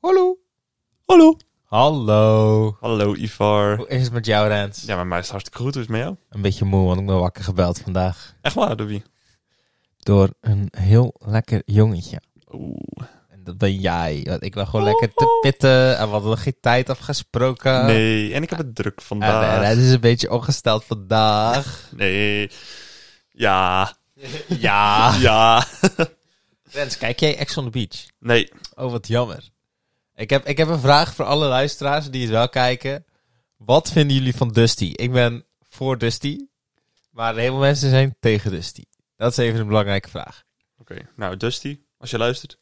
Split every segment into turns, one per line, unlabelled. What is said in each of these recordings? Hallo.
Hallo.
Hallo.
Hallo Ivar.
Hoe is het met jou, Rens?
Ja, met mij is het hartstikke goed. Hoe is het met jou?
Een beetje moe, want ik ben wakker gebeld vandaag.
Echt waar, door wie?
Door een heel lekker jongetje.
Oeh.
En dat ben jij. Want ik lag gewoon lekker te pitten en we hadden nog geen tijd afgesproken.
Eh. Nee, en ik heb het druk
En eh,
vandaag.
Rens is een beetje ongesteld vandaag.
Nee. Ja.
ja.
Ja.
Rens, kijk jij Ex on the Beach?
Nee.
Oh, wat jammer. Ik heb, ik heb een vraag voor alle luisteraars die het wel kijken. Wat vinden jullie van Dusty? Ik ben voor Dusty, maar een heleboel mensen zijn tegen Dusty. Dat is even een belangrijke vraag.
Oké. Nou, Dusty, als je luistert.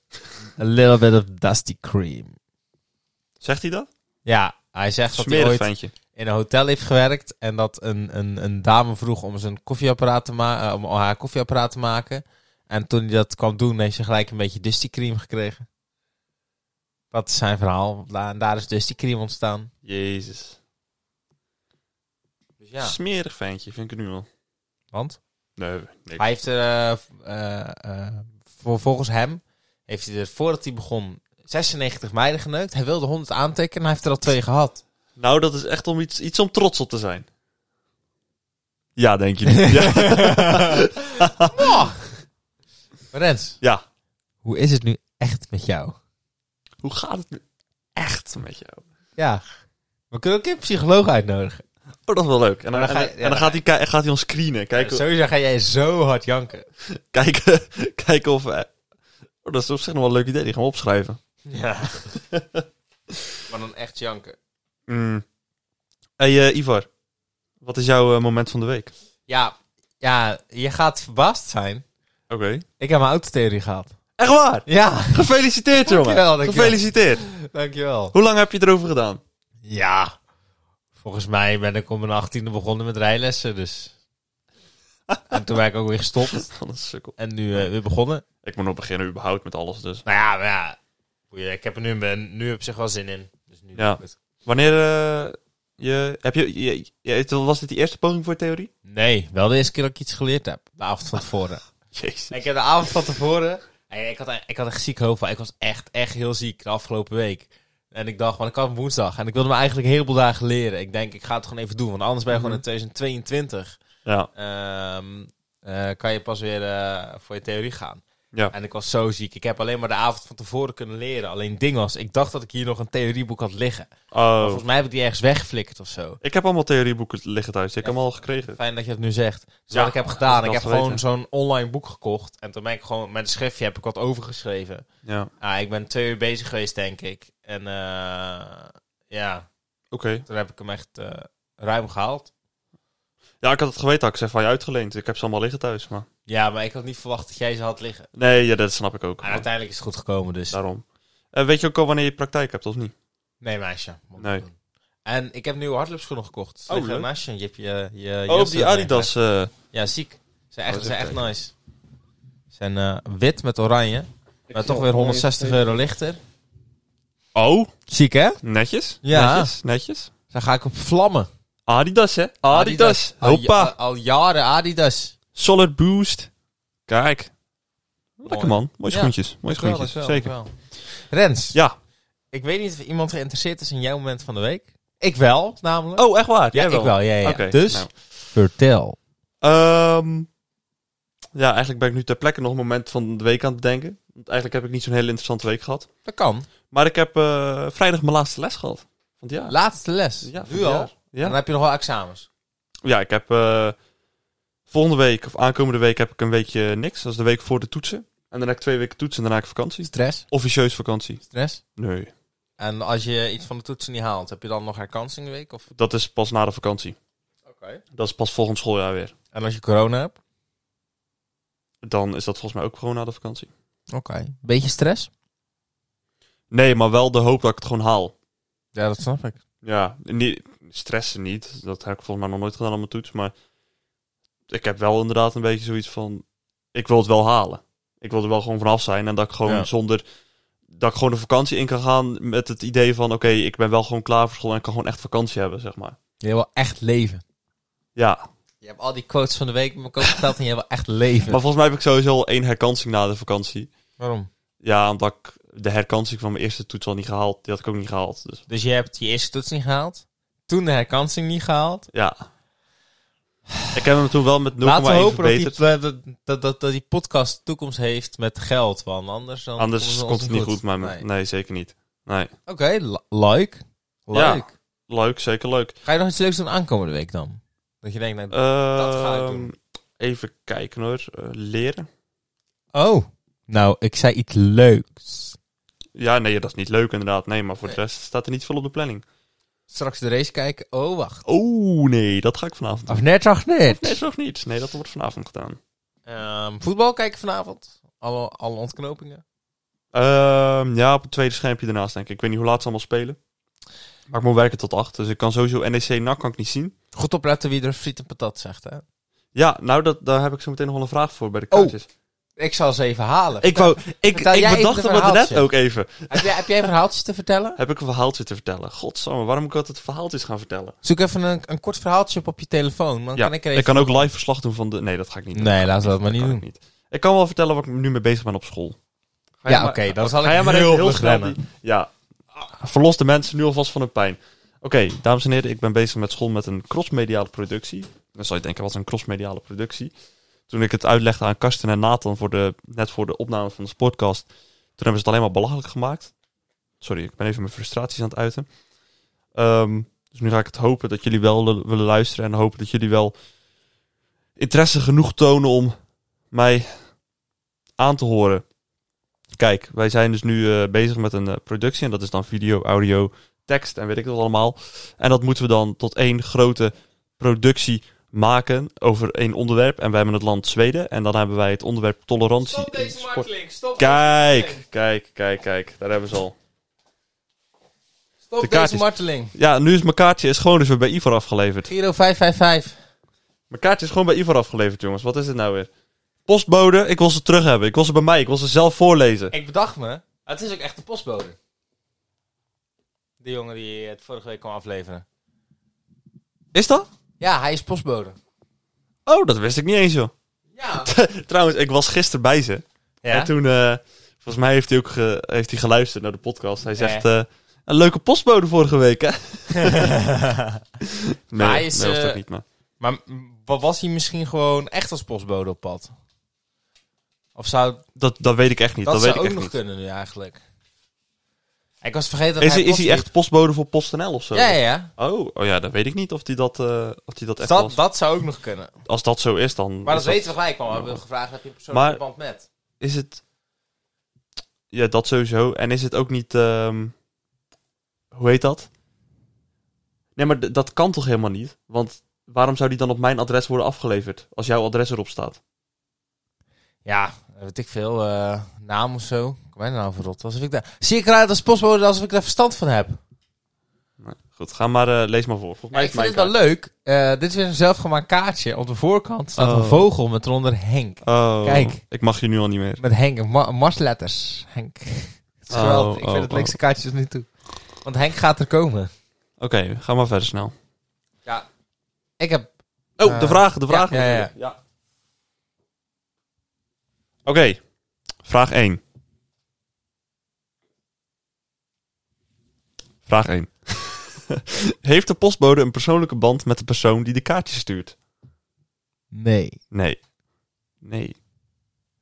A little bit of Dusty cream.
Zegt hij dat?
Ja, hij zegt dat hij
Smerig
ooit
ventje.
in een hotel heeft gewerkt en dat een, een, een dame vroeg om zijn koffieapparaat te ma- eh, om haar koffieapparaat te maken. En toen hij dat kwam doen, heeft ze gelijk een beetje Dusty cream gekregen. Dat is zijn verhaal. Da- En daar is Dusty cream ontstaan.
Jezus.
Dus ja.
Smerig ventje, vind ik het nu al.
Want
Nee. nee.
hij heeft er, eh, v- eh, eh, voor, volgens hem, heeft hij er voordat hij begon 96 meiden geneukt. Hij wilde 100 aantekenen en hij heeft er al twee gehad.
Nou, dat is echt om iets, iets om trots op te zijn. Ja, denk je niet. ja.
Maar Rens,
ja.
hoe is het nu echt met jou?
Hoe gaat het nu echt met jou?
Ja, we kunnen ook een keer een psycholoog uitnodigen.
Oh, dat is wel leuk. En
Maar
dan,
dan ga
en,
je- ja,
dan- en dan
dan
gaat hij, ki- gaat hij ons screenen. Kijken,
Sowieso ga jij zo hard janken.
kijken, kijken of... we- Oh, dat is op zich nog wel een leuk idee. Die gaan we opschrijven.
Ja. maar dan echt janken.
Mm. Hey eh, Ivar, wat is jouw eh, moment van de week?
Ja, ja, je gaat verbaasd zijn.
Oké.
Ik heb mijn autotheorie gehad.
Echt waar?
Ja,
Gefeliciteerd, jongen.
Dankjewel, dankjewel.
Gefeliciteerd.
dankjewel.
Hoe lang heb je erover gedaan?
Ja, volgens mij ben ik om mijn achttiende begonnen met rijlessen, dus... en toen ben ik ook weer gestopt
Wat een sukkel.
en nu eh, weer begonnen.
Ik moet nog beginnen überhaupt met alles dus.
Nou ja, maar ja, boeien, ik heb er nu, ben, nu op zich wel zin in. Dus nu
Ja.
doe ik het.
Wanneer eh, je, heb je, je, je- Was dit die eerste poging voor theorie?
Nee, wel de eerste keer dat ik iets geleerd heb, de avond van tevoren.
Jezus.
Ik heb de avond van tevoren. Hey, ik, had, e- ik had echt ziek hoofdpijn. Ik was echt, echt heel ziek de afgelopen week. En ik dacht, want ik had woensdag. En ik wilde me eigenlijk een heleboel dagen leren. Ik denk, ik ga het gewoon even doen. Want anders ben je
Mhm.
gewoon in 2022.
Ja.
ehm, eh, kan je pas weer eh, voor je theorie gaan.
Ja.
En ik was zo ziek. Ik heb alleen maar de avond van tevoren kunnen leren. Alleen het ding was, ik dacht dat ik hier nog een theorieboek had liggen. Maar
Oh.
volgens mij heb ik die ergens weggeflikkerd of zo.
Ik heb allemaal theorieboeken liggen thuis. Ik heb hem al gekregen.
Fijn dat je het nu zegt. Dus
Ja,
wat ik heb
dat
gedaan,
is
ik heb
wel te
gewoon zo'n online boek gekocht. En toen ben ik gewoon met een schriftje heb ik wat overgeschreven.
Ja. Oké.
Ah, ik ben twee uur bezig geweest, denk ik. En eh, ja, toen heb ik hem echt eh, ruim gehaald.
Ja, ik had het geweten. Had ik ze van je uitgeleend. Ik heb ze allemaal liggen thuis. Maar...
Ja, maar ik had niet verwacht dat jij ze had liggen.
Nee, ja, dat snap ik ook.
En uiteindelijk is het goed gekomen, dus.
Daarom. Eh, weet je ook al wanneer je praktijk hebt, of niet?
Nee, meisje. moet ik
Nee.
doen. En ik heb nieuwe hardloopschoenen gekocht. Ze
Oh,
liggen
leuk.
naast je. Je hebt je, je
Oh,
jas
op die
erin
Adidas. eh,
gelegd. Ja, ziek. Ze zijn echt,
Oh,
ze zijn echt
even
nice. Ze zijn eh, wit met oranje. Maar toch weer 160 euro lichter.
Oh,
Ziek, hè?
netjes.
Ja.
Netjes, netjes.
Dan ga ik op vlammen.
Adidas, hè? Adidas.
Al ja-
Hoppa.
Al, jaren Adidas.
Solid boost. Kijk. Lekker
Mooi.
man. Mooie
Ja.
schoentjes. Mooie
Dankjewel,
schoentjes. Zeker.
dankjewel, dankjewel. Rens.
Ja.
Ik weet niet of iemand geïnteresseerd is in jouw moment van de week. Ik wel, namelijk.
Oh, echt waar?
ja, ik wel. Ja, ja, ja.
Oké,
dus,
nou.
vertel.
Ehm, ja, eigenlijk ben ik nu ter plekke nog een moment van de week aan het bedenken. Want eigenlijk heb ik niet zo'n hele interessante week gehad.
Dat kan.
Maar ik heb eh, vrijdag mijn laatste les gehad. Van het jaar.
Laatste les.
Ja, van
nu
het
al.
jaar. Ja.
Dan heb je nog wel examens.
Ja, ik heb eh, volgende week of aankomende week heb ik een weekje niks. Dat is de week voor de toetsen. En dan heb ik twee weken toetsen en daarna heb ik vakantie.
Stress.
Officieus vakantie.
Stress.
Nee.
En als je iets van de toetsen niet haalt, heb je dan nog herkansing week? Of...
Dat is pas na de vakantie.
Oké.
Dat is pas volgend schooljaar weer.
En als je corona hebt?
Dan is dat volgens mij ook gewoon na de vakantie.
Oké. Beetje stress?
Nee, maar wel de hoop dat ik het gewoon haal.
Ja, dat snap ik.
Ja, niet, stressen niet. Dat heb ik volgens mij nog nooit gedaan aan mijn toets. Maar ik heb wel inderdaad een beetje zoiets van... Ik wil het wel halen. Ik wil er wel gewoon vanaf zijn. En dat ik gewoon
Ja.
zonder... Dat ik gewoon de vakantie in kan gaan met het idee van... Oké, ik ben wel gewoon klaar voor school en ik kan gewoon echt vakantie hebben, zeg maar.
Je wil echt leven.
Ja,
Je hebt al die quotes van de week met elkaar verteld en je wil echt leven.
Maar volgens mij heb ik sowieso al één herkansing na de vakantie.
Waarom?
Ja, omdat ik de herkansing van mijn eerste toets al niet gehaald. Die had ik ook niet gehaald. Dus
Dus je hebt je eerste toets niet gehaald. Toen de herkansing niet gehaald.
ja. Ik heb hem toen wel met 0,1
Laten we hopen dat die,
verbeterd.
dat, dat, dat, dat die podcast toekomst heeft met geld. Want anders, dan
Anders
ons
komt het niet goed, maar
Nee.
nee. zeker niet. Nee.
Oké, li- like.
Ja.
Like.
Leuk, zeker leuk.
Ga je nog iets leuks doen aankomende week dan? Dat je denkt, nou, ga ik doen.
Ehm, Even kijken hoor. Eh, leren.
oh, nou, ik zei iets leuks.
Ja, nee, dat is niet leuk inderdaad. Nee, maar voor de
Nee.
rest staat er niet veel op de planning.
Straks de race kijken. Oh, wacht.
Oh nee, dat ga ik vanavond doen.
Of net, of net.
Nee, toch niet? Nee, dat wordt vanavond gedaan.
Ehm, voetbal kijken vanavond. Alle, alle ontknopingen.
Ehm, ja, op het tweede schermpje daarnaast denk ik. Ik weet niet hoe laat ze allemaal spelen. Maar ik moet werken tot acht, dus ik kan sowieso NEC NAC kan ik niet zien.
Goed opletten wie er friet en patat zegt, hè.
Ja, nou, dat, daar heb ik zo meteen nog wel een vraag voor bij de
Oh.
kaartjes.
Ik zal ze even halen.
Ik, wou, ik,
Vertel jij
ik
even
bedacht
een
dat het net
verhaaltje.
ook even.
heb, jij, heb jij verhaaltjes te vertellen?
Heb ik een verhaaltje te vertellen? Godsamme, waarom moet ik altijd verhaaltjes gaan vertellen?
Zoek even een, een kort verhaaltje op op je telefoon. Dan
Ja,
kan ik er
ik
even...
kan ook live verslag doen van de... Nee, dat ga ik niet doen.
Nee, laten we dat maar niet
kan
doen.
ik niet. Ik kan wel vertellen waar ik nu mee bezig ben op school. Ga jij
Ja,
maar-
oké, dan zal
Ga
ik
jij maar
heel,
even heel snel
begrennen.
die- Ja. Verlos de mensen nu alvast van hun pijn. Oké, dames en heren, ik ben bezig met school met een crossmediale productie. Dan zou je denken, wat is een crossmediale productie? Toen ik het uitlegde aan Karsten en Nathan voor de, net voor de opname van de podcast, toen hebben ze het alleen maar belachelijk gemaakt. Sorry, ik ben even mijn frustraties aan het uiten. Ehm, dus nu ga ik het hopen dat jullie wel lu- willen luisteren en hopen dat jullie wel interesse genoeg tonen om mij aan te horen. Kijk, wij zijn dus nu eh, bezig met een eh, productie. En dat is dan video, audio, tekst en weet ik wat allemaal. En dat moeten we dan tot één grote productie maken over één onderwerp. En wij hebben het land Zweden. En dan hebben wij het onderwerp tolerantie. in sport.
Stop,
Kijk, kijk, kijk, kijk. Daar hebben ze al.
Stop deze
de kaartjes.
marteling.
Ja, nu is mijn kaartje is gewoon dus weer bij Ivor afgeleverd.
Giro 555.
Mijn kaartje is gewoon bij Ivor afgeleverd, jongens. Wat is het nou weer? Postbode, ik wil ze terug hebben. Ik wil ze bij mij. Ik wil ze zelf voorlezen.
Ik bedacht me, het is ook echt de postbode. De jongen die het vorige week kwam afleveren.
Is dat?
Ja, hij is postbode.
Oh, dat wist ik niet eens, joh.
Ja.
Trouwens, ik was gisteren bij ze. En toen, eh, volgens mij heeft hij ook ge- heeft hij geluisterd naar de podcast. Hij zegt, eh, een leuke postbode vorige week, hè? nee,
hij is,
nee, dat
eh,
ook niet, maar...
Maar m, wa- was hij misschien gewoon echt als postbode op pad? Of zou dat,
Dat, dat weet ik echt niet. Dat,
zou
weet ik
ook
echt
nog
niet.
kunnen nu eigenlijk? Ik was vergeten dat
Is,
hij
hij- is hij
postliep.
echt postbode voor PostNL of zo?
Ja, ja, ja.
Oh, oh ja, dat weet ik niet of hij dat, eh, of die dat echt was.
Dat, dat zou ook nog kunnen.
Als dat zo is, dan...
Maar
is
dat, weten we gelijk, want we hebben gevraagd heb je een persoonlijke
Maar-
band met.
Is het... Ja, dat sowieso. En is het ook niet... ehm, Hoe heet dat? Nee, maar d- dat kan toch helemaal niet? Want waarom zou die dan op mijn adres worden afgeleverd? Als jouw adres erop staat.
Ja, weet ik veel. eh, naam of zo. Kom mij nou voor rot. Alsof ik daar... Zie ik eruit als postbode alsof ik daar verstand van heb?
Nee, Goed, ga maar, eh, lees maar voor. Volgens mij
ik
is
vind
mijn
het wel leuk. Eh, dit is weer een zelfgemaakt kaartje. Op de voorkant staat een
Oh.
vogel met eronder Henk.
kaart. Oh,
Kijk.
Ik mag je nu al niet meer.
Met Henk, ma marsletters. Henk. Het is
Oh,
geweldig. Ik vind
oh,
het
oh.
leukste kaartje tot nu toe. Want Henk gaat er komen.
Oké, ga maar verder snel.
Ja. Ik heb...
Oh,
Eh,
de vragen, de
ja,
vragen.
ja, ja.
natuurlijk. Oké, vraag 1. Vraag 1. Heeft de postbode een persoonlijke band met de persoon die de kaartjes stuurt?
Nee.
Nee. Nee.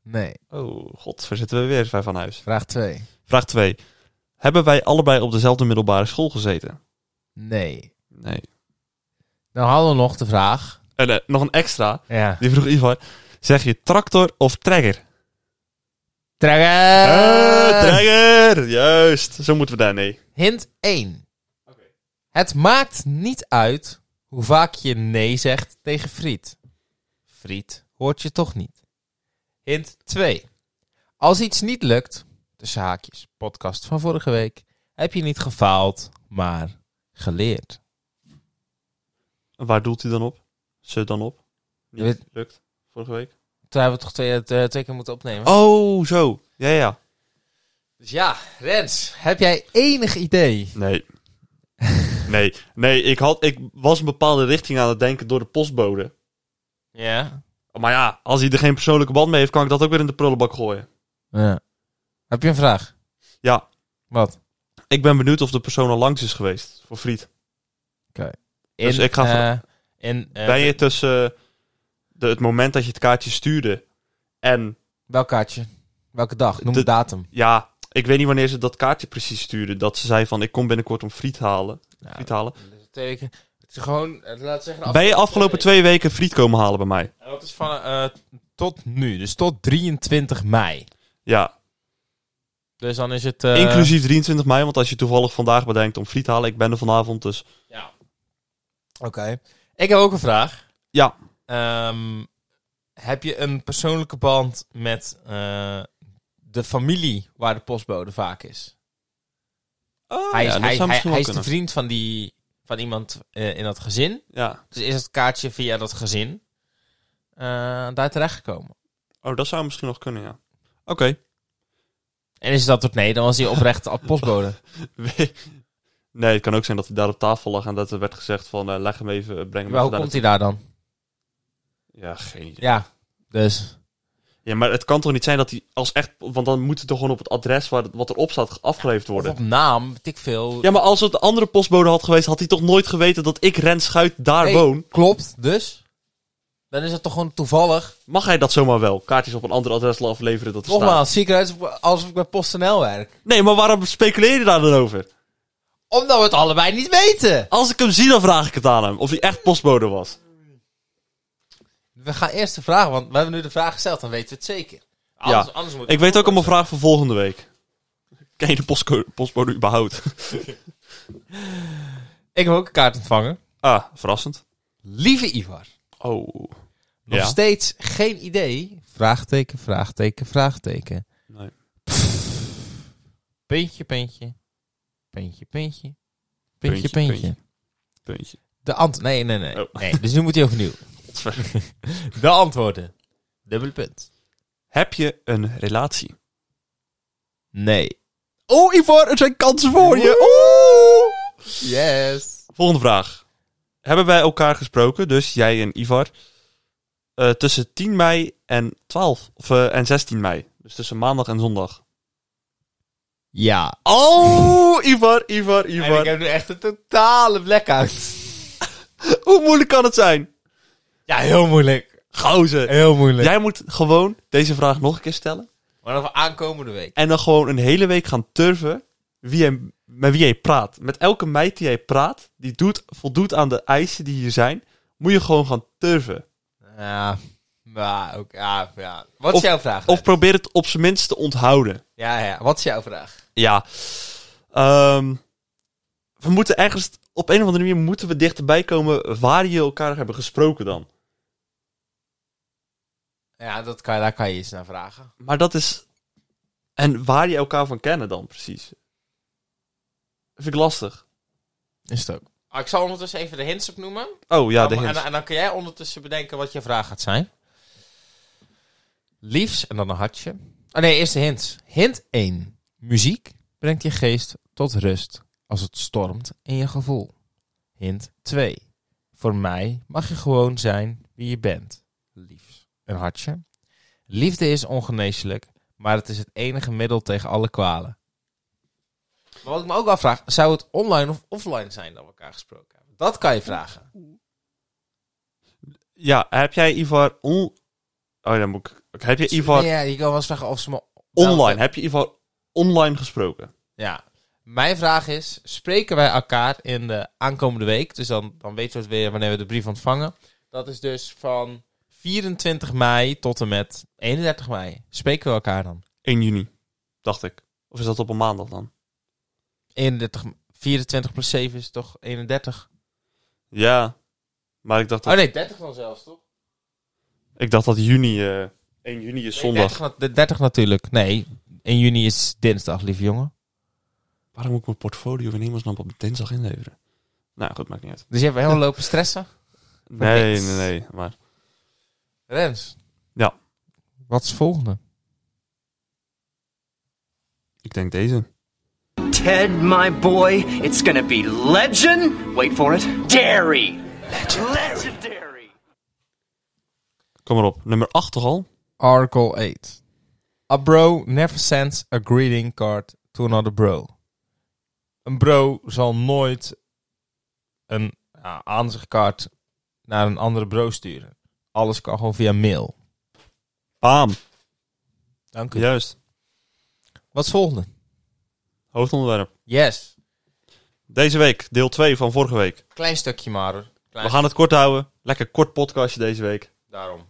Nee.
Oh, god, waar zitten we weer ver van huis?
Vraag 2.
Vraag 2. Hebben wij allebei op dezelfde middelbare school gezeten?
Nee.
Nee.
Nou hadden we nog de vraag.
En eh, nog een extra.
Ja.
Die vroeg Ivar, zeg je tractor of trekker?
Trekker!
Eh, trekker! Juist, zo moeten we daar, nee.
Hint 1. Het maakt niet uit hoe vaak je nee zegt tegen friet. Friet hoort je toch niet. Hint 2. Als iets niet lukt, tussen haakjes, podcast van vorige week, heb je niet gefaald, maar geleerd.
Waar doelt hij dan op? Ze dan op? Niet
Je weet-
lukt, vorige week.
Toen hebben we toch twee, eh, twee keer moeten opnemen.
Oh, zo. Ja, ja.
Dus ja, Rens, heb jij enig idee?
Nee. nee, nee ik, had, ik was een bepaalde richting aan het denken door de postbode.
Ja.
Maar ja, als hij er geen persoonlijke band mee heeft, kan ik dat ook weer in de prullenbak gooien.
ja. Heb je een vraag?
Ja.
Wat?
Ik ben benieuwd of de persoon al langs is geweest voor Friet. Dus ik ga
eh, in, eh,
ben je tussen de, het moment dat je het kaartje stuurde en
Welk kaartje? Welke dag? Noem de,
De-
datum.
ja, ik weet niet wanneer ze dat kaartje precies stuurden. Dat ze zei van ik kom binnenkort om friet halen. Friet halen.
Twee weken. Het is gewoon, eh, laat zeggen...
ben je afgelopen twee weken friet komen halen bij mij?
En dat is van eh, tot nu, dus tot 23 mei.
Ja,
Dus dan is het... eh,
inclusief 23 mei. Want als je toevallig vandaag bedenkt om friet te halen, ik ben er vanavond dus.
Ja. Oké. Ik heb ook een vraag.
Ja.
Ehm, heb je een persoonlijke band met eh, de familie waar de postbode vaak is? hij is,
Ah,
hij,
ja, dat zou
hij,
misschien
hij
wel
is de
kunnen.
vriend van, die, van iemand eh, in dat gezin.
Ja.
Dus is het kaartje via dat gezin eh, daar terechtgekomen?
Oh, dat zou misschien nog kunnen, ja. Oké.
En is dat het nee, dan was hij oprecht al postbode.
Nee, het kan ook zijn dat hij daar op tafel lag en dat er werd gezegd van eh, leg hem even, eh, breng hem
Maar hoe
even
komt
daar
hij daar dan?
naartoe. Ja, geen idee.
Ja, dus...
Ja, maar het kan toch niet zijn dat hij als echt... Want dan moet het toch gewoon op het adres waar, het- wat erop staat afgeleverd
Of
worden.
op naam, weet ik veel.
Ja, maar als het een andere postbode had geweest, had hij toch nooit geweten dat ik Rens Schuit daar
Nee,
woon.
Klopt, dus... Dan is het toch gewoon toevallig
Mag hij dat zomaar wel? Kaartjes op een ander adres afleveren, dat er
Nogmaals, zie ik eruit alsof ik bij PostNL werk.
staat. Nee, maar waarom speculeer je daar dan over?
Omdat we het allebei niet weten.
Als ik hem zie, dan vraag ik het aan hem. Of hij echt postbode was.
We gaan eerst de vraag, want we hebben nu de vraag gesteld, dan weten we het zeker. Anders, anders moet
Ik weet ook al mijn vraag voor volgende week. Ken je de postco- postbode überhaupt?
Ik heb ook een kaart ontvangen.
Ah, verrassend.
Lieve Ivar,
Oh.
nog
Ja.
steeds geen idee. Vraagteken, vraagteken, vraagteken.
Nee.
Puntje, puntje. Puntje, puntje. Puntje,
Puntje,
puntje.
puntje. Puntje.
De ant... Nee, nee, nee.
Oh.
nee. Dus nu moet hij overnieuw. De antwoorden. Dubbele punt.
Heb je een relatie?
Nee.
Oh, Ivar, er zijn kansen voor je. Oh!
Yes.
Volgende vraag. Hebben wij elkaar gesproken, dus jij en Ivar, eh, tussen 10 mei en 12 of, eh, en 16 mei? Dus tussen maandag en zondag.
Ja.
Oh, Ivar, Ivar,
En ik
Ivar.
heb nu echt een totale blackout.
Hoe moeilijk kan het zijn?
Ja, heel moeilijk.
Gozer.
Heel moeilijk.
Jij moet gewoon deze vraag nog een keer stellen.
Maar dan voor aankomende week.
En dan gewoon een hele week gaan turven wie jij- met wie jij praat. Met elke meid die jij praat, die doet, voldoet aan de eisen die hier zijn, moet je gewoon gaan turven.
Ja, maar ook, ja, ja. Wat is
Of-
jouw vraag?
Of probeer het op zijn minst te onthouden.
Ja, ja, wat is jouw vraag?
Ja. Ehm, we moeten ergens, op een of andere manier moeten we dichterbij komen waar je elkaar hebben gesproken dan.
Ja, dat kan, daar kan je iets naar vragen.
Maar dat is... En waar je elkaar van kennen dan precies. Dat vind ik lastig.
Is het ook. Ah, Ik zal ondertussen even de hints opnoemen.
Oh ja, de
Dan-
hints.
Nou, En, en dan kun jij ondertussen bedenken wat je vraag gaat zijn. Liefs en dan een hartje. Oh nee, eerst de hints. Hint 1. Muziek brengt je geest tot rust als het stormt in je gevoel. Hint 2. Voor mij mag je gewoon zijn wie je bent. Liefs. Een hartje. Liefde is ongeneeslijk, maar het is het enige middel tegen alle kwalen. Maar wat ik me ook afvraag, zou het online of offline zijn dat we elkaar gesproken hebben? Dat kan je vragen.
Ja, heb jij Ivar... On... Oh, dan moet ik... Oké, Heb je Ivar
Ja, je kan wel eens vragen of ze me...
online... Heb je Ivar online gesproken?
Ja. Mijn vraag is, spreken wij elkaar in de aankomende week? Dus dan, dan weten we het weer wanneer we de brief ontvangen. Dat is dus van 24 mei tot en met 31 mei. Spreken we elkaar dan?
1 juni, dacht ik. Of is dat op een maandag dan?
31, 24 plus 7 is toch 31?
Ja. Maar ik dacht
Oh
dat,
nee, 30 dan zelfs, toch?
ik dacht dat juni... eh, 1 juni is
Nee, 30,
zondag.
na- de 30 natuurlijk. Nee, 1 juni is dinsdag, lieve jongen.
Waarom moet ik mijn portfolio in hemelsnaam op dinsdag inleveren? Nou goed, maakt niet uit.
Dus je hebt helemaal lopen stressen.
Nee,
niks.
nee, nee. Maar
Rens.
Ja.
Wat is het volgende?
ik denk deze.
Ted, my boy, it's gonna be legend. Wait for it. Dairy. Legendary. Legendary.
Kom maar op. Nummer 8 toch al?
Article 8. A bro never sends a greeting card to another bro. Een bro zal nooit een ja, aanzichtkaart naar een andere bro sturen. Alles kan gewoon via mail.
Bam.
Dank u.
Juist.
Wat is volgende?
Hoofdonderwerp.
Yes.
Deze week, deel 2 van vorige week.
Klein stukje maar. hoor. Klein
We gaan het kort houden. Lekker kort podcastje deze week.
daarom.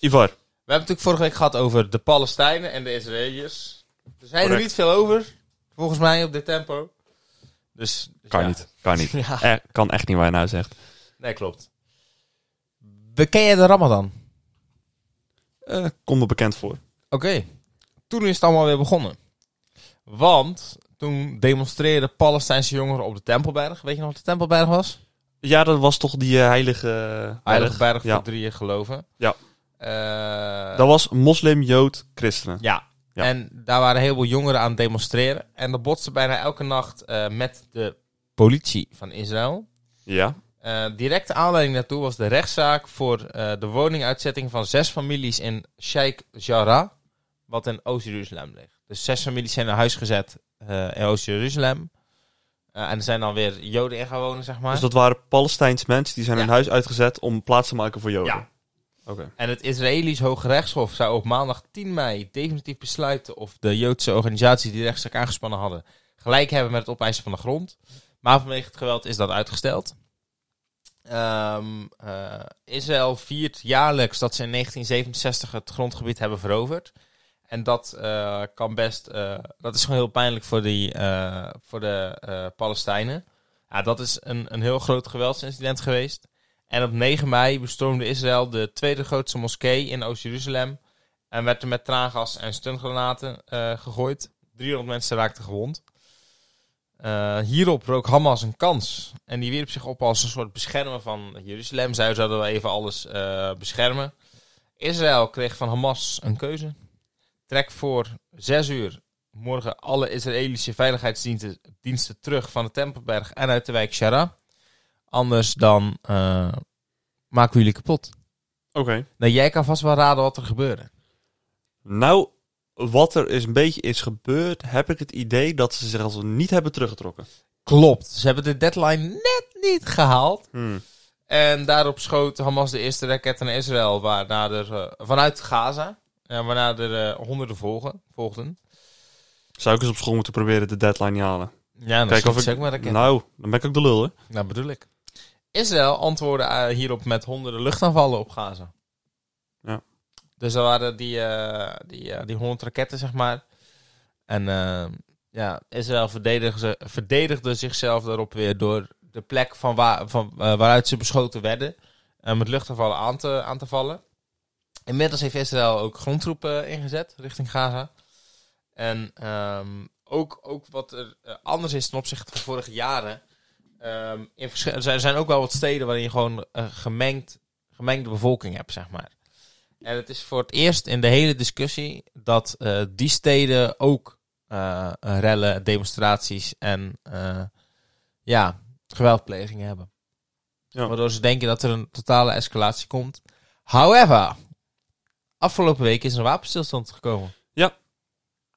Ivar,
We hebben het natuurlijk vorige week gehad over de Palestijnen en de Israëliërs. Er zijn er
Correct.
niet veel over, volgens mij, op dit tempo. Dus, dus
kan
ja.
niet. Kan niet.
Ja.
Eh, kan echt niet waar je nou zegt.
Nee, klopt. Beken jij de Ramadan?
Eh, kom me bekend voor.
Oké. Toen is het allemaal weer begonnen. Want toen demonstreerden Palestijnse jongeren op de Tempelberg. Weet je nog wat de Tempelberg was?
Ja, dat was toch die eh, heilige...
Heilige Berg voor
Ja.
drieën geloven.
Ja.
Eh,
Dat was moslim, jood, christenen.
Ja.
Ja.
En daar waren heel veel jongeren aan het demonstreren. En dat botste bijna elke nacht eh, met de politie van Israël.
Ja.
Eh, directe aanleiding daartoe was de rechtszaak voor eh, de woninguitzetting van zes families in Sheikh Jarrah, wat in Oost-Jeruzalem ligt. Dus zes families zijn naar huis gezet eh, in Oost-Jeruzalem. Eh, en er zijn dan weer Joden in gaan wonen, zeg maar.
Dus dat waren Palestijns mensen die zijn
Ja.
hun huis uitgezet om plaats te maken voor joden.
Ja.
Oké.
En het Israëlisch Hoge Rechtshof zou op maandag 10 mei definitief besluiten of de Joodse organisaties die de rechtszaak aangespannen hadden gelijk hebben met het opeisen van de grond. Maar vanwege het geweld is dat uitgesteld. Ehm, eh, Israël viert jaarlijks dat ze in 1967 het grondgebied hebben veroverd. En dat eh, kan best. eh, dat is gewoon heel pijnlijk voor, die, eh, voor de eh, Palestijnen. Ja, dat is een, een heel groot geweldsincident geweest. En op 9 mei bestormde Israël de tweede grootste moskee in Oost-Jeruzalem. En werd er met traangas en stungranaten eh, gegooid. 300 mensen raakten gewond. Eh, hierop rook Hamas een kans. En die wierp zich op als een soort beschermer van Jeruzalem. Zij zouden wel even alles eh, beschermen. Israël kreeg van Hamas een keuze. Trek voor 6 uur morgen alle Israëlische veiligheidsdiensten diensten terug van de Tempelberg en uit de wijk Shara. Anders dan eh, maken we jullie kapot.
Oké.
Nou, jij kan vast wel raden wat er gebeurde.
Nou, wat er is een beetje is gebeurd, heb ik het idee dat ze zich als niet hebben teruggetrokken.
Klopt. Ze hebben de deadline net niet gehaald. En daarop schoot Hamas de eerste raket naar Israël waarna er, eh, vanuit Gaza. En waarna er eh, honderden volgen, volgden.
Zou ik eens op school moeten proberen de deadline niet halen?
Ja, dan
Kijk
schiet
of
ze
ik.
ook maar raketten.
Nou, dan ben ik ook de lul, hè?
Nou, bedoel ik. Israël antwoordde eh, hierop met honderden luchtaanvallen op Gaza.
Ja.
Dus er waren die, eh, die, eh, die honderd raketten, zeg maar. En eh, ja, Israël verdedigde, ze- verdedigde zichzelf daarop weer door de plek van waar, van, eh, waaruit ze beschoten werden. eh, met luchtaanvallen aan te, aan te vallen. Inmiddels heeft Israël ook grondtroepen eh, ingezet richting Gaza. En ehm, ook, ook wat er eh, anders is ten opzichte van vorige jaren. Ehm, in versch- er zijn- er zijn ook wel wat steden waarin je gewoon eh, gemengd, gemengde bevolking hebt, zeg maar. En het is voor het eerst in de hele discussie dat eh, die steden ook eh, rellen, demonstraties en eh, ja, geweldplegingen hebben.
Ja.
Waardoor ze denken dat er een totale escalatie komt. However, afgelopen week is er een wapenstilstand gekomen.
Ja.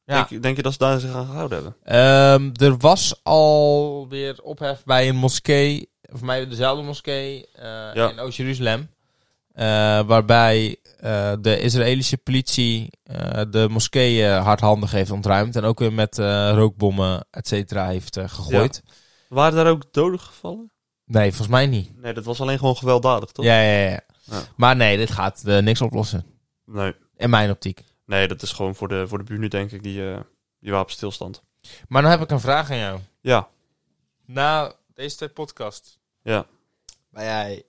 Ja.
Denk, denk je dat ze daar zich aan gehouden hebben?
Ehm, er was alweer ophef bij een moskee, voor mij dezelfde moskee eh, in Oost-Jeruzalem. eh, waarbij eh, de Israëlische politie eh, de moskee eh, hardhandig heeft ontruimd. En ook weer met eh, rookbommen, et cetera, heeft eh, gegooid.
Waren daar ook doden gevallen?
Nee, volgens mij niet.
Nee, dat was alleen gewoon gewelddadig, toch?
Ja, ja, ja,
Ja.
Maar nee, dit gaat eh, niks oplossen.
Nee.
In mijn optiek.
nee, dat is gewoon voor de, voor de buren, denk ik, die, eh die wapenstilstand.
Maar dan heb ik een vraag aan jou.
Ja,
Na deze twee podcasts.
Ja.
Ben jij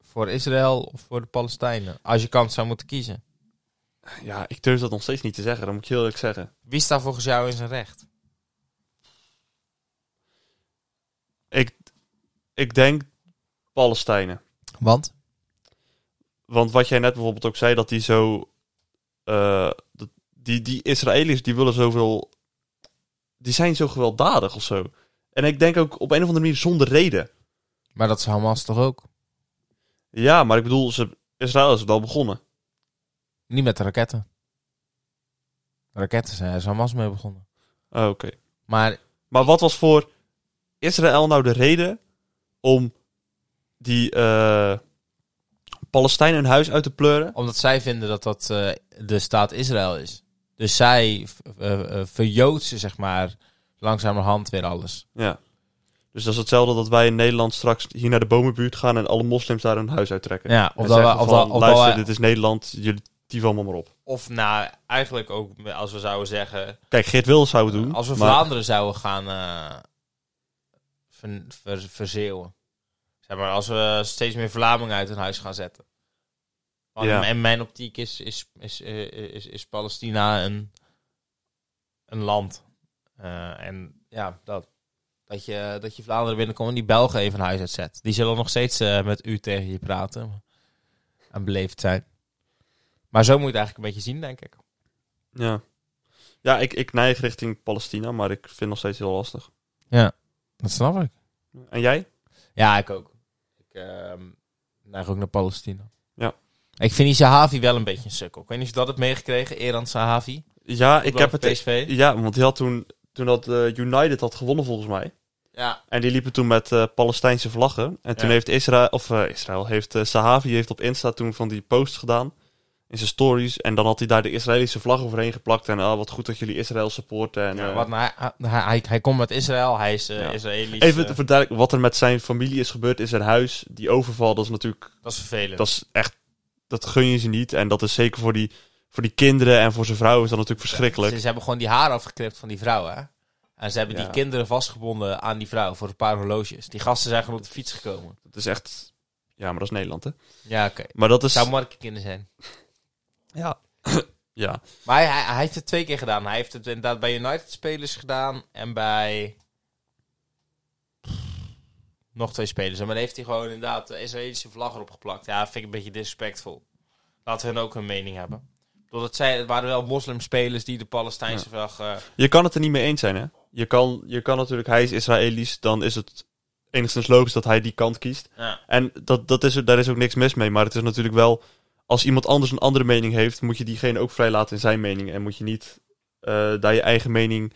voor Israël of voor de Palestijnen? Als je kans zou moeten kiezen.
ja ik durf dat nog steeds niet te zeggen, dat moet ik heel eerlijk zeggen.
Wie staat volgens jou in zijn recht?
Ik, ik denk Palestijnen.
Want?
Want wat jij net bijvoorbeeld ook zei, dat die zo. eh, dat- die, die Israëli's die willen zoveel. Die zijn zo gewelddadig of zo. En ik denk ook op een of andere manier zonder reden.
Maar dat is Hamas toch ook?
Ja, maar ik bedoel, ze, Israël is wel begonnen.
Niet met de raketten. Raketten zijn er is Hamas mee begonnen.
Oh, Oké.
Maar
Maar wat was voor Israël nou de reden om die eh Palestijnen hun huis uit te pleuren?
omdat zij vinden dat dat eh, de staat Israël is. Dus zij eh, eh, verjood ze, zeg maar, langzamerhand weer alles.
Ja. Dus dat is hetzelfde dat wij in Nederland straks hier naar de bomenbuurt gaan en alle moslims daar hun huis uittrekken.
Ja, of
of
dat,
zeggen
we,
van,
of, dat, of, dat
luister,
wij-
dit is Nederland, jullie tief allemaal maar op.
of nou, eigenlijk ook als we zouden zeggen...
Kijk, Geert Wilders zou het doen.
Als we
maar-
Vlaanderen zouden gaan eh, ver, ver- verzeeuwen. Zeg maar, als we steeds meer Vlamingen uit hun huis gaan zetten. Want
Ja.
in mijn optiek is, is, is, eh, is, is Palestina een, een land. Eh, en ja, dat. Dat je, dat je Vlaanderen binnenkomt en die Belgen even hun huis uitzet. Die zullen nog steeds eh, met u tegen je praten. En beleefd zijn. Maar zo moet je het eigenlijk een beetje zien, denk ik.
Ja, ja ik, ik neig richting Palestina, maar ik vind het nog steeds heel lastig.
Dat snap ik.
En jij?
Ja, ik ook. Ik ehm neig ook naar Palestina.
Ja.
Ik vind die Sahavi wel een beetje een sukkel. Ik weet niet of je dat hebt meegekregen, Eran Sahavi.
Ja, ik heb het...
PSV.
Ja, want die had toen, toen dat eh, United had gewonnen volgens mij.
Ja.
En die liepen toen met eh, Palestijnse vlaggen. En toen
Ja.
heeft Israël, of eh, Israël, heeft eh, Sahavi heeft op Insta toen van die post gedaan. In zijn stories. En dan had hij daar de Israëlische vlag overheen geplakt. En ah, wat goed dat jullie Israël supporten. En, eh,
Wat, nou, hij, hij, hij, hij komt uit Israël, hij is eh
Ja.
Israëlisch.
Even
eh,
te verduidelijken wat er met zijn familie is gebeurd in zijn huis. Die overval, dat is natuurlijk
dat is vervelend.
Dat is echt, dat gun je ze niet. En dat is zeker voor die, voor die kinderen en voor zijn vrouw is dat natuurlijk verschrikkelijk.
Ze, ze hebben gewoon die haar afgeknipt van die vrouw, hè. En ze hebben
Ja.
die kinderen vastgebonden aan die vrouw voor een paar horloges. Die gasten zijn gewoon op de fiets gekomen.
Dat is echt, ja, maar dat is Nederland, hè.
Ja, oké.
Maar dat is,
Zou marke kinderen zijn.
ja. ja,
Maar hij, hij, hij heeft het twee keer gedaan. Hij heeft het inderdaad bij United spelers gedaan en bij nog twee spelers. Maar dan heeft hij gewoon inderdaad de Israëlische vlag erop geplakt. Ja, vind ik een beetje disrespectvol. Laten we hun ook een mening hebben. Doordat zij, het waren wel moslimspelers die de Palestijnse vlag... eh,
je kan het er niet mee eens zijn, hè. Je kan, je kan natuurlijk, hij is Israëlisch, dan is het enigszins logisch dat hij die kant kiest.
ja.
En dat, dat is, er- daar is ook niks mis mee, maar het is natuurlijk wel, als iemand anders een andere mening heeft, moet je diegene ook vrij laten in zijn mening. En moet je niet eh, daar je eigen mening,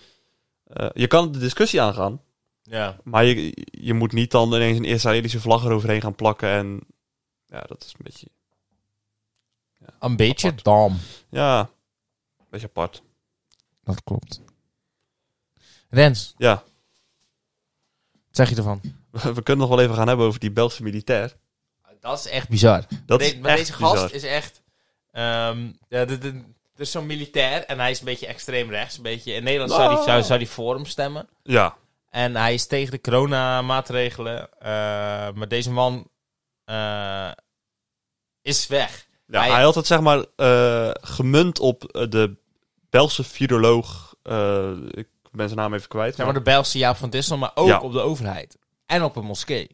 eh, je kan de discussie aangaan.
ja.
Maar je, je moet niet dan ineens een Israëlische vlag eroverheen gaan plakken. En ja, dat is een beetje.
Een
beetje
beetje dom.
Ja, een beetje apart.
Dat klopt. Rens,
Ja,
wat zeg je ervan?
we kunnen nog wel even gaan hebben over die Belgische militair.
Dat is echt bizar.
Dat
Deze-
is
maar
echt
deze gast
bizar.
is echt. ehm ja, dit- dit- er is zo'n militair en hij is een beetje extreem rechts. Een beetje, in Nederland zou
Ah.
hij, zou, zou die voor hem stemmen.
Ja,
En hij is tegen de coronamaatregelen. eh, maar deze man eh, is weg.
ja
Hij-
hij had het zeg maar eh, gemunt op eh, de Belgische viroloog. eh, ik ben zijn naam even kwijt.
Zeg
maar-
maar de Belgische Jaap van Dissel, maar ook
Ja.
op de overheid. En op een moskee.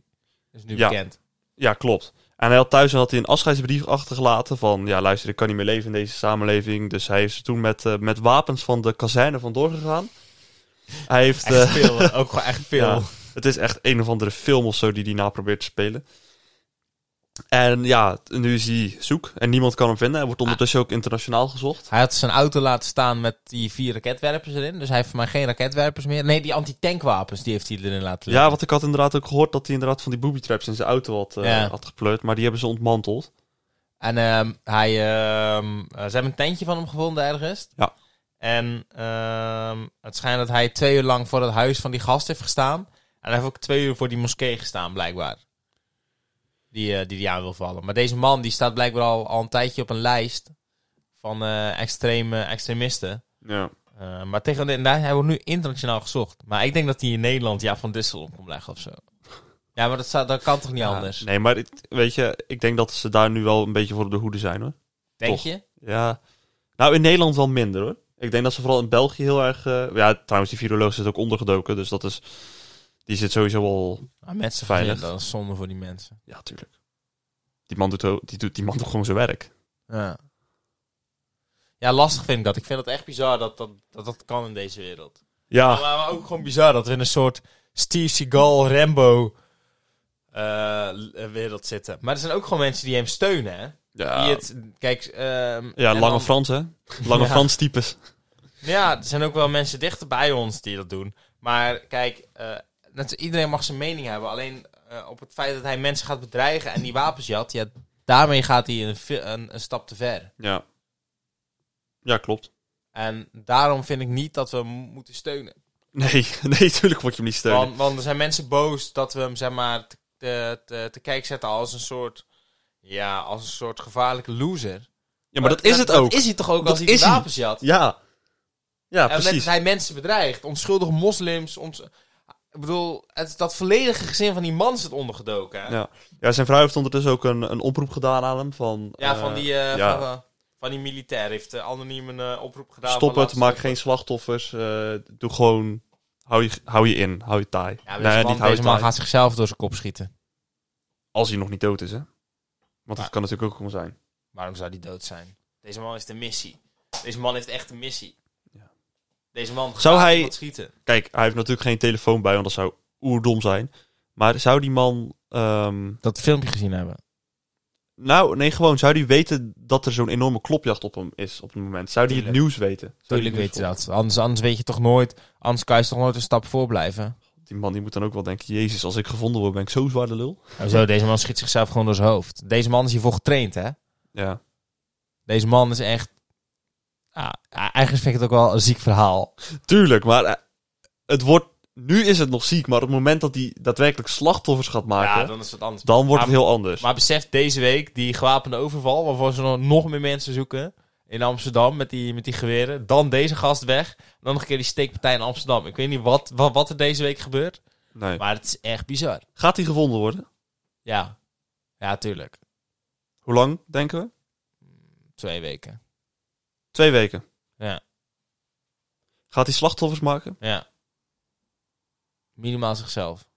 Dat is nu
Ja.
bekend.
Ja, klopt. En hij had thuis had hij een afscheidsbrief achtergelaten van... Ja, luister, ik kan niet meer leven in deze samenleving. Dus hij is er toen met, eh, met wapens van de kazerne vandoor gegaan. Hij heeft... eh,
Echt veel. eh, ook gewoon echt veel.
Ja, het is echt een of andere film of zo die hij na probeert te spelen. En ja, nu is hij zoek en niemand kan hem vinden. Hij
Ah.
wordt ondertussen ook internationaal gezocht.
Hij had zijn auto laten staan met die vier raketwerpers erin. Dus hij heeft voor mij geen raketwerpers meer. Nee, die antitankwapens die heeft hij erin laten liggen.
Ja, want ik had inderdaad ook gehoord dat hij inderdaad van die booby traps in zijn auto had, eh,
Ja.
had gepleurd. Maar die hebben ze ontmanteld.
En ehm, hij, ehm, eh, ze hebben een tentje van hem gevonden ergens.
Ja.
En ehm, het schijnt dat hij twee uur lang voor het huis van die gast heeft gestaan. En hij heeft ook twee uur voor die moskee gestaan, blijkbaar. Die eh, die, die aan wil vallen. Maar deze man die staat blijkbaar al, al een tijdje op een lijst van eh, extreme, extremisten.
Ja.
Eh, maar tegen de, nou, hij wordt nu internationaal gezocht. Maar ik denk dat hij in Nederland ja van Dissel om kon leggen of zo. Ja, maar dat, zou- dat kan toch niet anders?
Nee, maar ik, weet je, ik denk dat ze daar nu wel een beetje voor op de hoede zijn hoor.
Denk
toch.
je?
Ja. Nou, in Nederland wel minder hoor. Ik denk dat ze vooral in België heel erg... eh, ja, trouwens, die viroloog zit ook ondergedoken. Dus dat is... Die zit sowieso wel
Ah, met z'n
Veilig.
veilig. Dat is zonde voor die mensen.
Ja, tuurlijk. Die man doet, ook- die doet, die man doet gewoon zijn werk.
Ja. Ja, lastig vind ik dat. Ik vind het echt bizar dat dat, dat, dat kan in deze wereld.
Ja,
Maar, maar ook gewoon bizar dat we in een soort Steve Seagal, Rambo eh, l- wereld zitten. Maar er zijn ook gewoon mensen die hem steunen, hè?
Ja,
Die het, kijk, ehm,
ja
en
lange
dan-
Frans, hè? Lange
Ja.
Frans types.
Ja, er zijn ook wel mensen dichter bij ons die dat doen. Maar kijk, eh, net, iedereen mag zijn mening hebben. Alleen eh, op het feit dat hij mensen gaat bedreigen en die wapens jat, ja, daarmee gaat hij een, ve- een, een stap te ver.
Ja. Ja, klopt.
En daarom vind ik niet dat we hem moeten steunen.
Nee, nee, tuurlijk word je hem niet steunen.
Want, want er zijn mensen boos dat we hem zeg maar te, te, te, te kijk zetten als een soort, ja, als een soort gevaarlijke loser.
ja, maar dat, is het ook.
Dat is hij toch ook
Dat
als hij die
is hij.
wapens jat?
Ja. Ja,
en net als
precies.
hij mensen bedreigt. Onschuldige moslims. Ons... Ik bedoel, het, dat volledige gezin van die man zit ondergedoken. hè? Ja,
Ja. ja, zijn vrouw heeft ondertussen ook een, een oproep gedaan aan hem van... eh,
van, die, eh,
ja.
van, eh, van die militair heeft eh, anoniem een eh, oproep gedaan.
Stop
van
het,
laat-
maak geen slachtoffers. eh, doe gewoon... Hou je, hou je in, hou je taai.
Ja,
nee, niet hou je
deze man
taai.
gaat zichzelf door zijn kop schieten.
Als hij nog niet dood is, hè. Want
Ja.
dat kan natuurlijk ook gewoon zijn.
Waarom zou die dood zijn? Deze man heeft een missie. Deze man heeft echt een missie.
Ja.
Deze man gaat
Zou hij-
iemand schieten.
Kijk, hij heeft natuurlijk geen telefoon bij, want dat zou oerdom zijn. Maar zou die man... ehm,
Dat filmpje gezien hebben.
nou, nee, gewoon. Zou die weten dat er zo'n enorme klopjacht op hem is op het moment? Zou die het
Tuurlijk.
nieuws weten? Zou die
Tuurlijk
het nieuws
weet je dat. Anders, anders weet je toch nooit. Anders kan je toch nooit een stap voor blijven.
Die man die moet dan ook wel denken, jezus, als ik gevonden word ben ik zo zwaar de lul.
Zo, deze man schiet zichzelf gewoon door zijn hoofd. Deze man is hiervoor getraind, hè?
Ja.
Deze man is echt. Ah, eigenlijk vind ik het ook wel een ziek verhaal.
Tuurlijk, maar eh, het wordt, nu is het nog ziek, maar op het moment dat hij daadwerkelijk slachtoffers gaat maken, dan,
is het anders.
wordt het
Maar-
heel anders.
Maar besef deze week die gewapende overval, waarvoor ze nog- nog meer mensen zoeken in Amsterdam met die, met die geweren. Dan deze gast weg. Dan nog een keer die steekpartij in Amsterdam. Ik weet niet wat, wat, wat er deze week gebeurt,
nee.
maar het is echt bizar.
Gaat hij gevonden worden?
Ja, ja, tuurlijk.
Hoe lang, denken we?
Twee weken.
Twee weken.
Ja.
Gaat hij slachtoffers maken?
Ja. Minimaal zichzelf.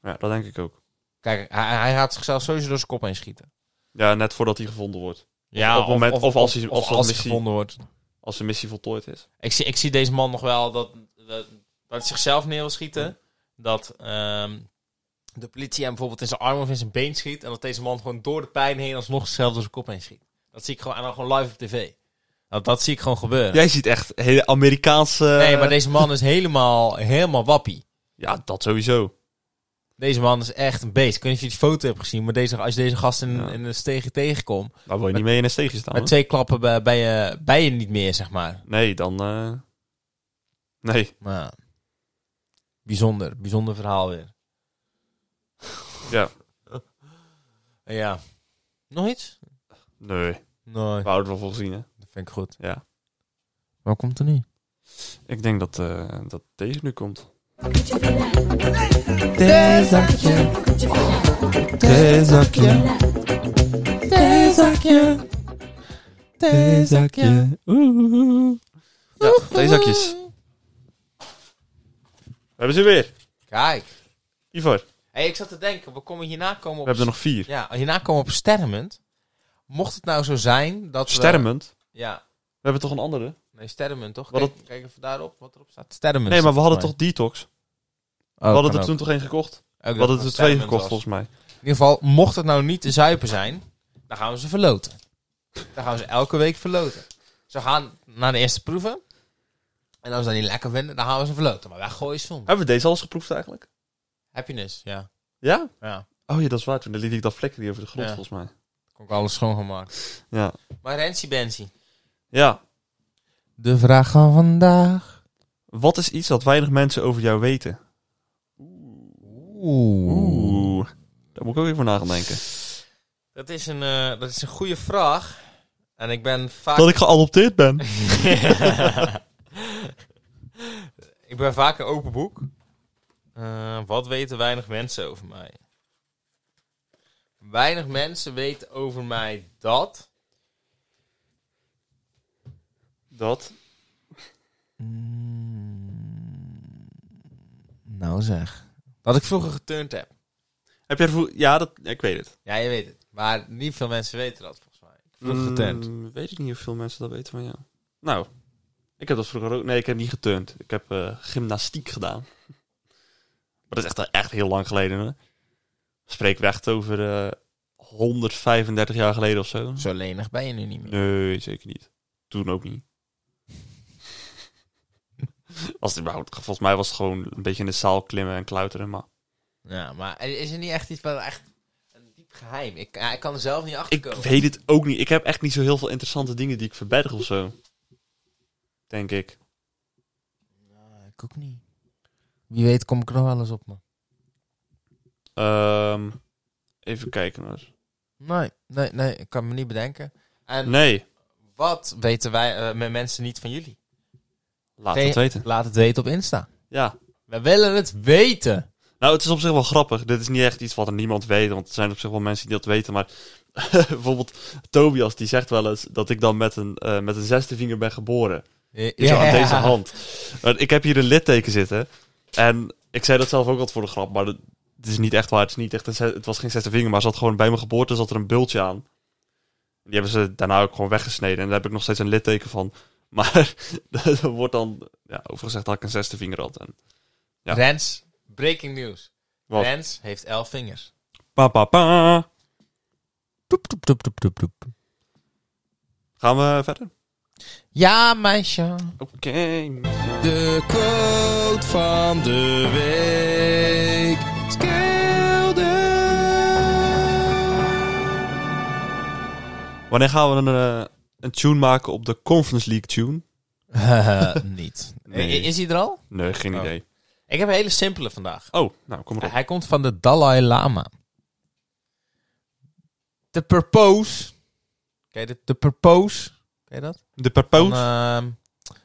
Ja, dat denk ik ook.
Kijk, hij, hij gaat zichzelf sowieso door zijn kop heen schieten.
Ja, net voordat hij gevonden wordt.
Ja,
op het moment- of als hij- of als
als hij
Messi-
gevonden wordt.
Als de missie voltooid is.
Ik zie, ik zie deze man nog wel dat, dat, dat hij zichzelf neer wil schieten. Dat ehm, de politie hem bijvoorbeeld in zijn arm of in zijn been schiet. En dat deze man gewoon door de pijn heen alsnog zichzelf door zijn kop heen schiet. Dat zie ik gewoon, en dan gewoon live op tv. Dat, dat zie ik gewoon gebeuren.
Jij ziet echt hele Amerikaanse...
Nee, maar deze man is helemaal, helemaal wappie.
Ja, dat sowieso.
Deze man is echt een beest. Ik weet niet of je die foto hebt gezien, maar deze, als je deze gast in,
Ja. Oh.
in een steegje tegenkomt...
Daar wil je niet mee in een steegje staan.
met
hoor.
twee klappen bij, bij, je, bij je niet meer, zeg maar.
Nee, dan... eh, Nee,
Nou, bijzonder, bijzonder verhaal weer.
ja.
Ja. Nog iets?
Nee, we
Nee.
houden het wel voor gezien, hè.
Dat vind ik goed.
Ja.
Wat komt er nu?
Ik denk dat, eh, dat deze nu komt. Ja, theezakjes. We hebben ze weer.
Kijk.
Ivor, we
Hey, ik zat te denken, we komen hierna komen op...
hebben er nog vier.
Ja, hierna komen we op Sterrement. Mocht het nou zo zijn dat we-
Stermend.
Ja.
We hebben toch een andere?
Nee, Sterrement toch?
Wat
Kijk, kijk even daarop, wat erop staat. Sterrement.
Nee, maar we
staat
hadden
volgens
toch Detox?
mij.
We
Oh,
hadden
kan
er
ook.
toen toch één gekocht?
Ook
We
dat het
hadden er
een
twee
Sterrement
gekocht,
was.
volgens mij.
In ieder geval, mocht het nou niet te zuipen zijn, dan gaan we ze verloten. Dan gaan we ze elke week verloten. Ze gaan naar de eerste proeven. En als we dat niet lekker vinden, dan gaan we ze verloten. Maar wij gooien soms.
Hebben we deze alles geproefd eigenlijk?
Happiness, ja.
Ja?
Ja,
Oh ja, dat is waar. Toen liet ik dat vlekje die over de grond,
Ja.
volgens mij.
kon ik alles schoongemaakt.
Ja.
Maar Rensie Bensie.
Ja.
De vraag van vandaag.
Wat is iets dat weinig mensen over jou weten?
Oeh.
Oeh. Daar moet ik ook even voor na gaan denken.
Dat is een, eh, dat is een goede vraag. En ik ben vaak...
Dat ik geadopteerd ben.
ik ben vaak een open boek. Eh, wat weten weinig mensen over mij? Weinig mensen weten over mij dat.
Dat?
Mm, Nou zeg. Dat ik vroeger geturnd heb.
Heb jij ervoor... Ja, dat... ik weet het.
Ja, je weet het. Maar niet veel mensen weten dat volgens mij. Ik heb Vroeger
Mm,
geturnd.
weet ik niet of veel mensen dat weten van jou. Nou, ik heb dat vroeger ook... Nee, ik heb niet geturnd. Ik heb eh, gymnastiek gedaan. Maar dat is echt, echt heel lang geleden. Hè? Spreek we echt over eh, 135 jaar geleden of zo.
Zo lenig ben je nu niet meer.
Nee, zeker niet. Toen ook niet. Als het überhaupt, volgens mij was het gewoon een beetje in de zaal klimmen en kluiteren. Maar
Ja, maar is er niet echt iets van echt een diep geheim? Ik, ja, ik kan er zelf niet achter
ik
komen.
weet het ook niet. Ik heb echt niet zo heel veel interessante dingen die ik verberg of zo. Denk ik.
Ik ook niet. Wie weet kom ik er nog wel eens op, man.
Ehm, even kijken. hoor.
Nee, nee, nee. Ik kan me niet bedenken. En
Nee,
wat weten wij eh, met mensen niet van jullie?
laat
Geen-
het weten.
Laat het weten op Insta.
Ja.
We willen het weten.
Nou, het is op zich wel grappig. Dit is niet echt iets wat er niemand weet, want er zijn op zich wel mensen die dat weten. Maar bijvoorbeeld Tobias, die zegt wel eens dat ik dan met een, eh, met een zesde vinger ben geboren.
Ja.
Zo aan deze hand. Maar ik heb hier een litteken zitten. En ik zei dat zelf ook wat voor de grap, maar dat, het is niet echt waar. Het, is niet echt een zes- het was geen zesde vinger, maar zat gewoon bij mijn geboorte zat er een bultje aan. Die hebben ze daarna ook gewoon weggesneden. En daar heb ik nog steeds een litteken van. Maar dat wordt dan ja, overgezegd dat ik een zesde vinger had. En, Ja.
Rens, breaking news.
Wat?
Rens heeft elf vingers.
pa, pa, pa.
Toep, toep, toep, toep, toep, toep.
Gaan we verder?
Ja, meisje.
Oké.
De quote van de week.
Wanneer gaan we een, eh, een tune maken op de Conference League tune?
niet.
Nee.
I- Is hij er al?
Nee, geen
Oh.
idee.
Ik heb een hele simpele vandaag.
Oh, nou, kom erop.
Hij komt van de Dalai Lama. De Purpose. Ken je dit? De Purpose. Ken je dat?
De
Van,
Purpose?
ehm,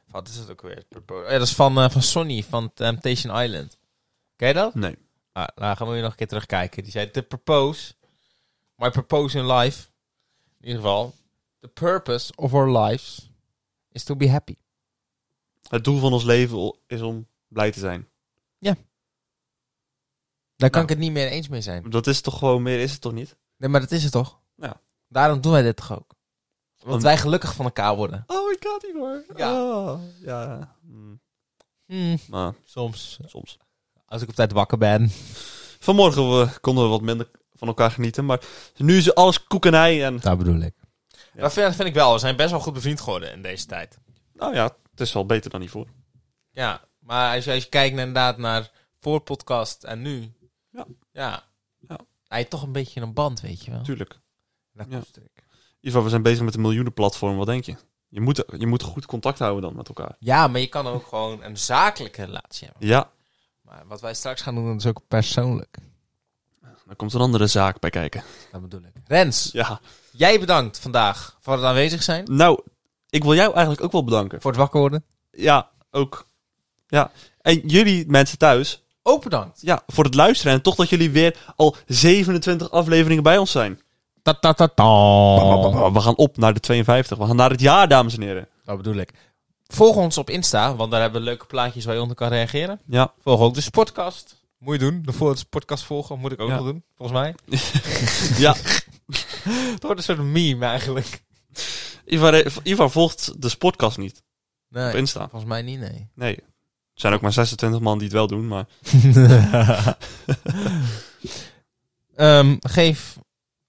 wat is het ook weer? Purpose. Ja, dat is van, eh, van Sonny van Temptation Island. Ken je dat?
nee.
Ah, nou, gaan we nog een keer terugkijken. Die zei, the purpose, my purpose in life, in ieder geval, the purpose of our lives is to be happy.
Het doel van ons leven o- is om blij te zijn.
Daar kan
Nou.
ik het niet meer eens mee zijn.
Dat is toch gewoon meer, is het toch niet?
Nee, maar dat is het toch?
Ja.
Daarom doen wij dit toch ook.
Om-
Want wij gelukkig van elkaar worden.
Oh, ik had niet hoor.
Ja.
Oh, ja. Hm,
Hmm,
maar
soms,
soms.
als ik op tijd wakker ben.
Vanmorgen we, konden we wat minder van elkaar genieten, maar nu is alles koek en ei. En,
Dat bedoel ik.
Ja.
Dat vind, dat vind ik wel. We zijn best wel goed bevriend geworden in deze tijd.
nou ja, het is wel beter dan hiervoor.
Ja, maar als je, als je kijkt naar, inderdaad naar voor podcast en nu.
Ja.
Ja.
Ja.
Hij heeft toch een beetje een band, weet je wel.
Tuurlijk.
Dat
Ja.
koester ik.
Ivo, we zijn bezig met een miljoenenplatform, wat denk je? Je moet, je moet goed contact houden dan met elkaar.
Ja, maar je kan ook gewoon een zakelijke relatie hebben.
Ja,
Maar wat wij straks gaan doen, is ook persoonlijk.
dan komt een andere zaak bij kijken.
Dat bedoel ik. Rens,
Ja.
jij bedankt vandaag voor het aanwezig zijn.
Nou, ik wil jou eigenlijk ook wel bedanken.
Voor het wakker worden.
Ja, ook. Ja. En jullie mensen thuis,
Ook bedankt.
ja, voor het luisteren. En toch dat jullie weer al 27 afleveringen bij ons zijn.
Ta ta ta ta.
Oh. We gaan op naar de 52. We gaan naar het jaar, dames en heren.
Dat bedoel ik. Volg ons op Insta, want daar hebben we leuke plaatjes waar je onder kan reageren.
Ja.
Volg ook de Sportcast. Moet je doen. De voor- podcast volgen moet ik ook
Ja.
nog doen, volgens mij.
ja.
Het wordt een soort meme eigenlijk.
Ivar, eh, Ivar volgt de Sportcast niet op
Nee,
Insta.
volgens mij niet, nee.
Nee. Er zijn ook maar 26 man die het wel doen, maar...
Ehm, geef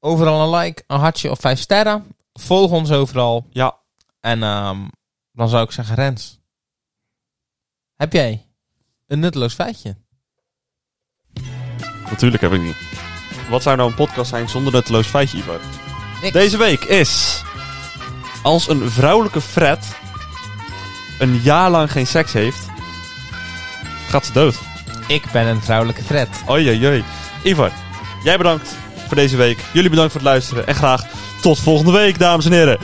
overal een like, een hartje of vijf sterren. Volg ons overal.
Ja.
En ehm, dan zou ik zeggen, Rens. Heb jij een nutteloos feitje?
Natuurlijk heb ik niet. Wat zou nou een podcast zijn zonder nutteloos feitje, Ivar?
Niks.
Deze week is... Als een vrouwelijke fret een jaar lang geen seks heeft, gaat ze dood.
Ik ben een vrouwelijke Fred.
Oei, Ivar, jij bedankt voor deze week. Jullie bedankt voor het luisteren. En graag tot volgende week, dames en heren.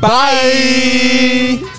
Bye!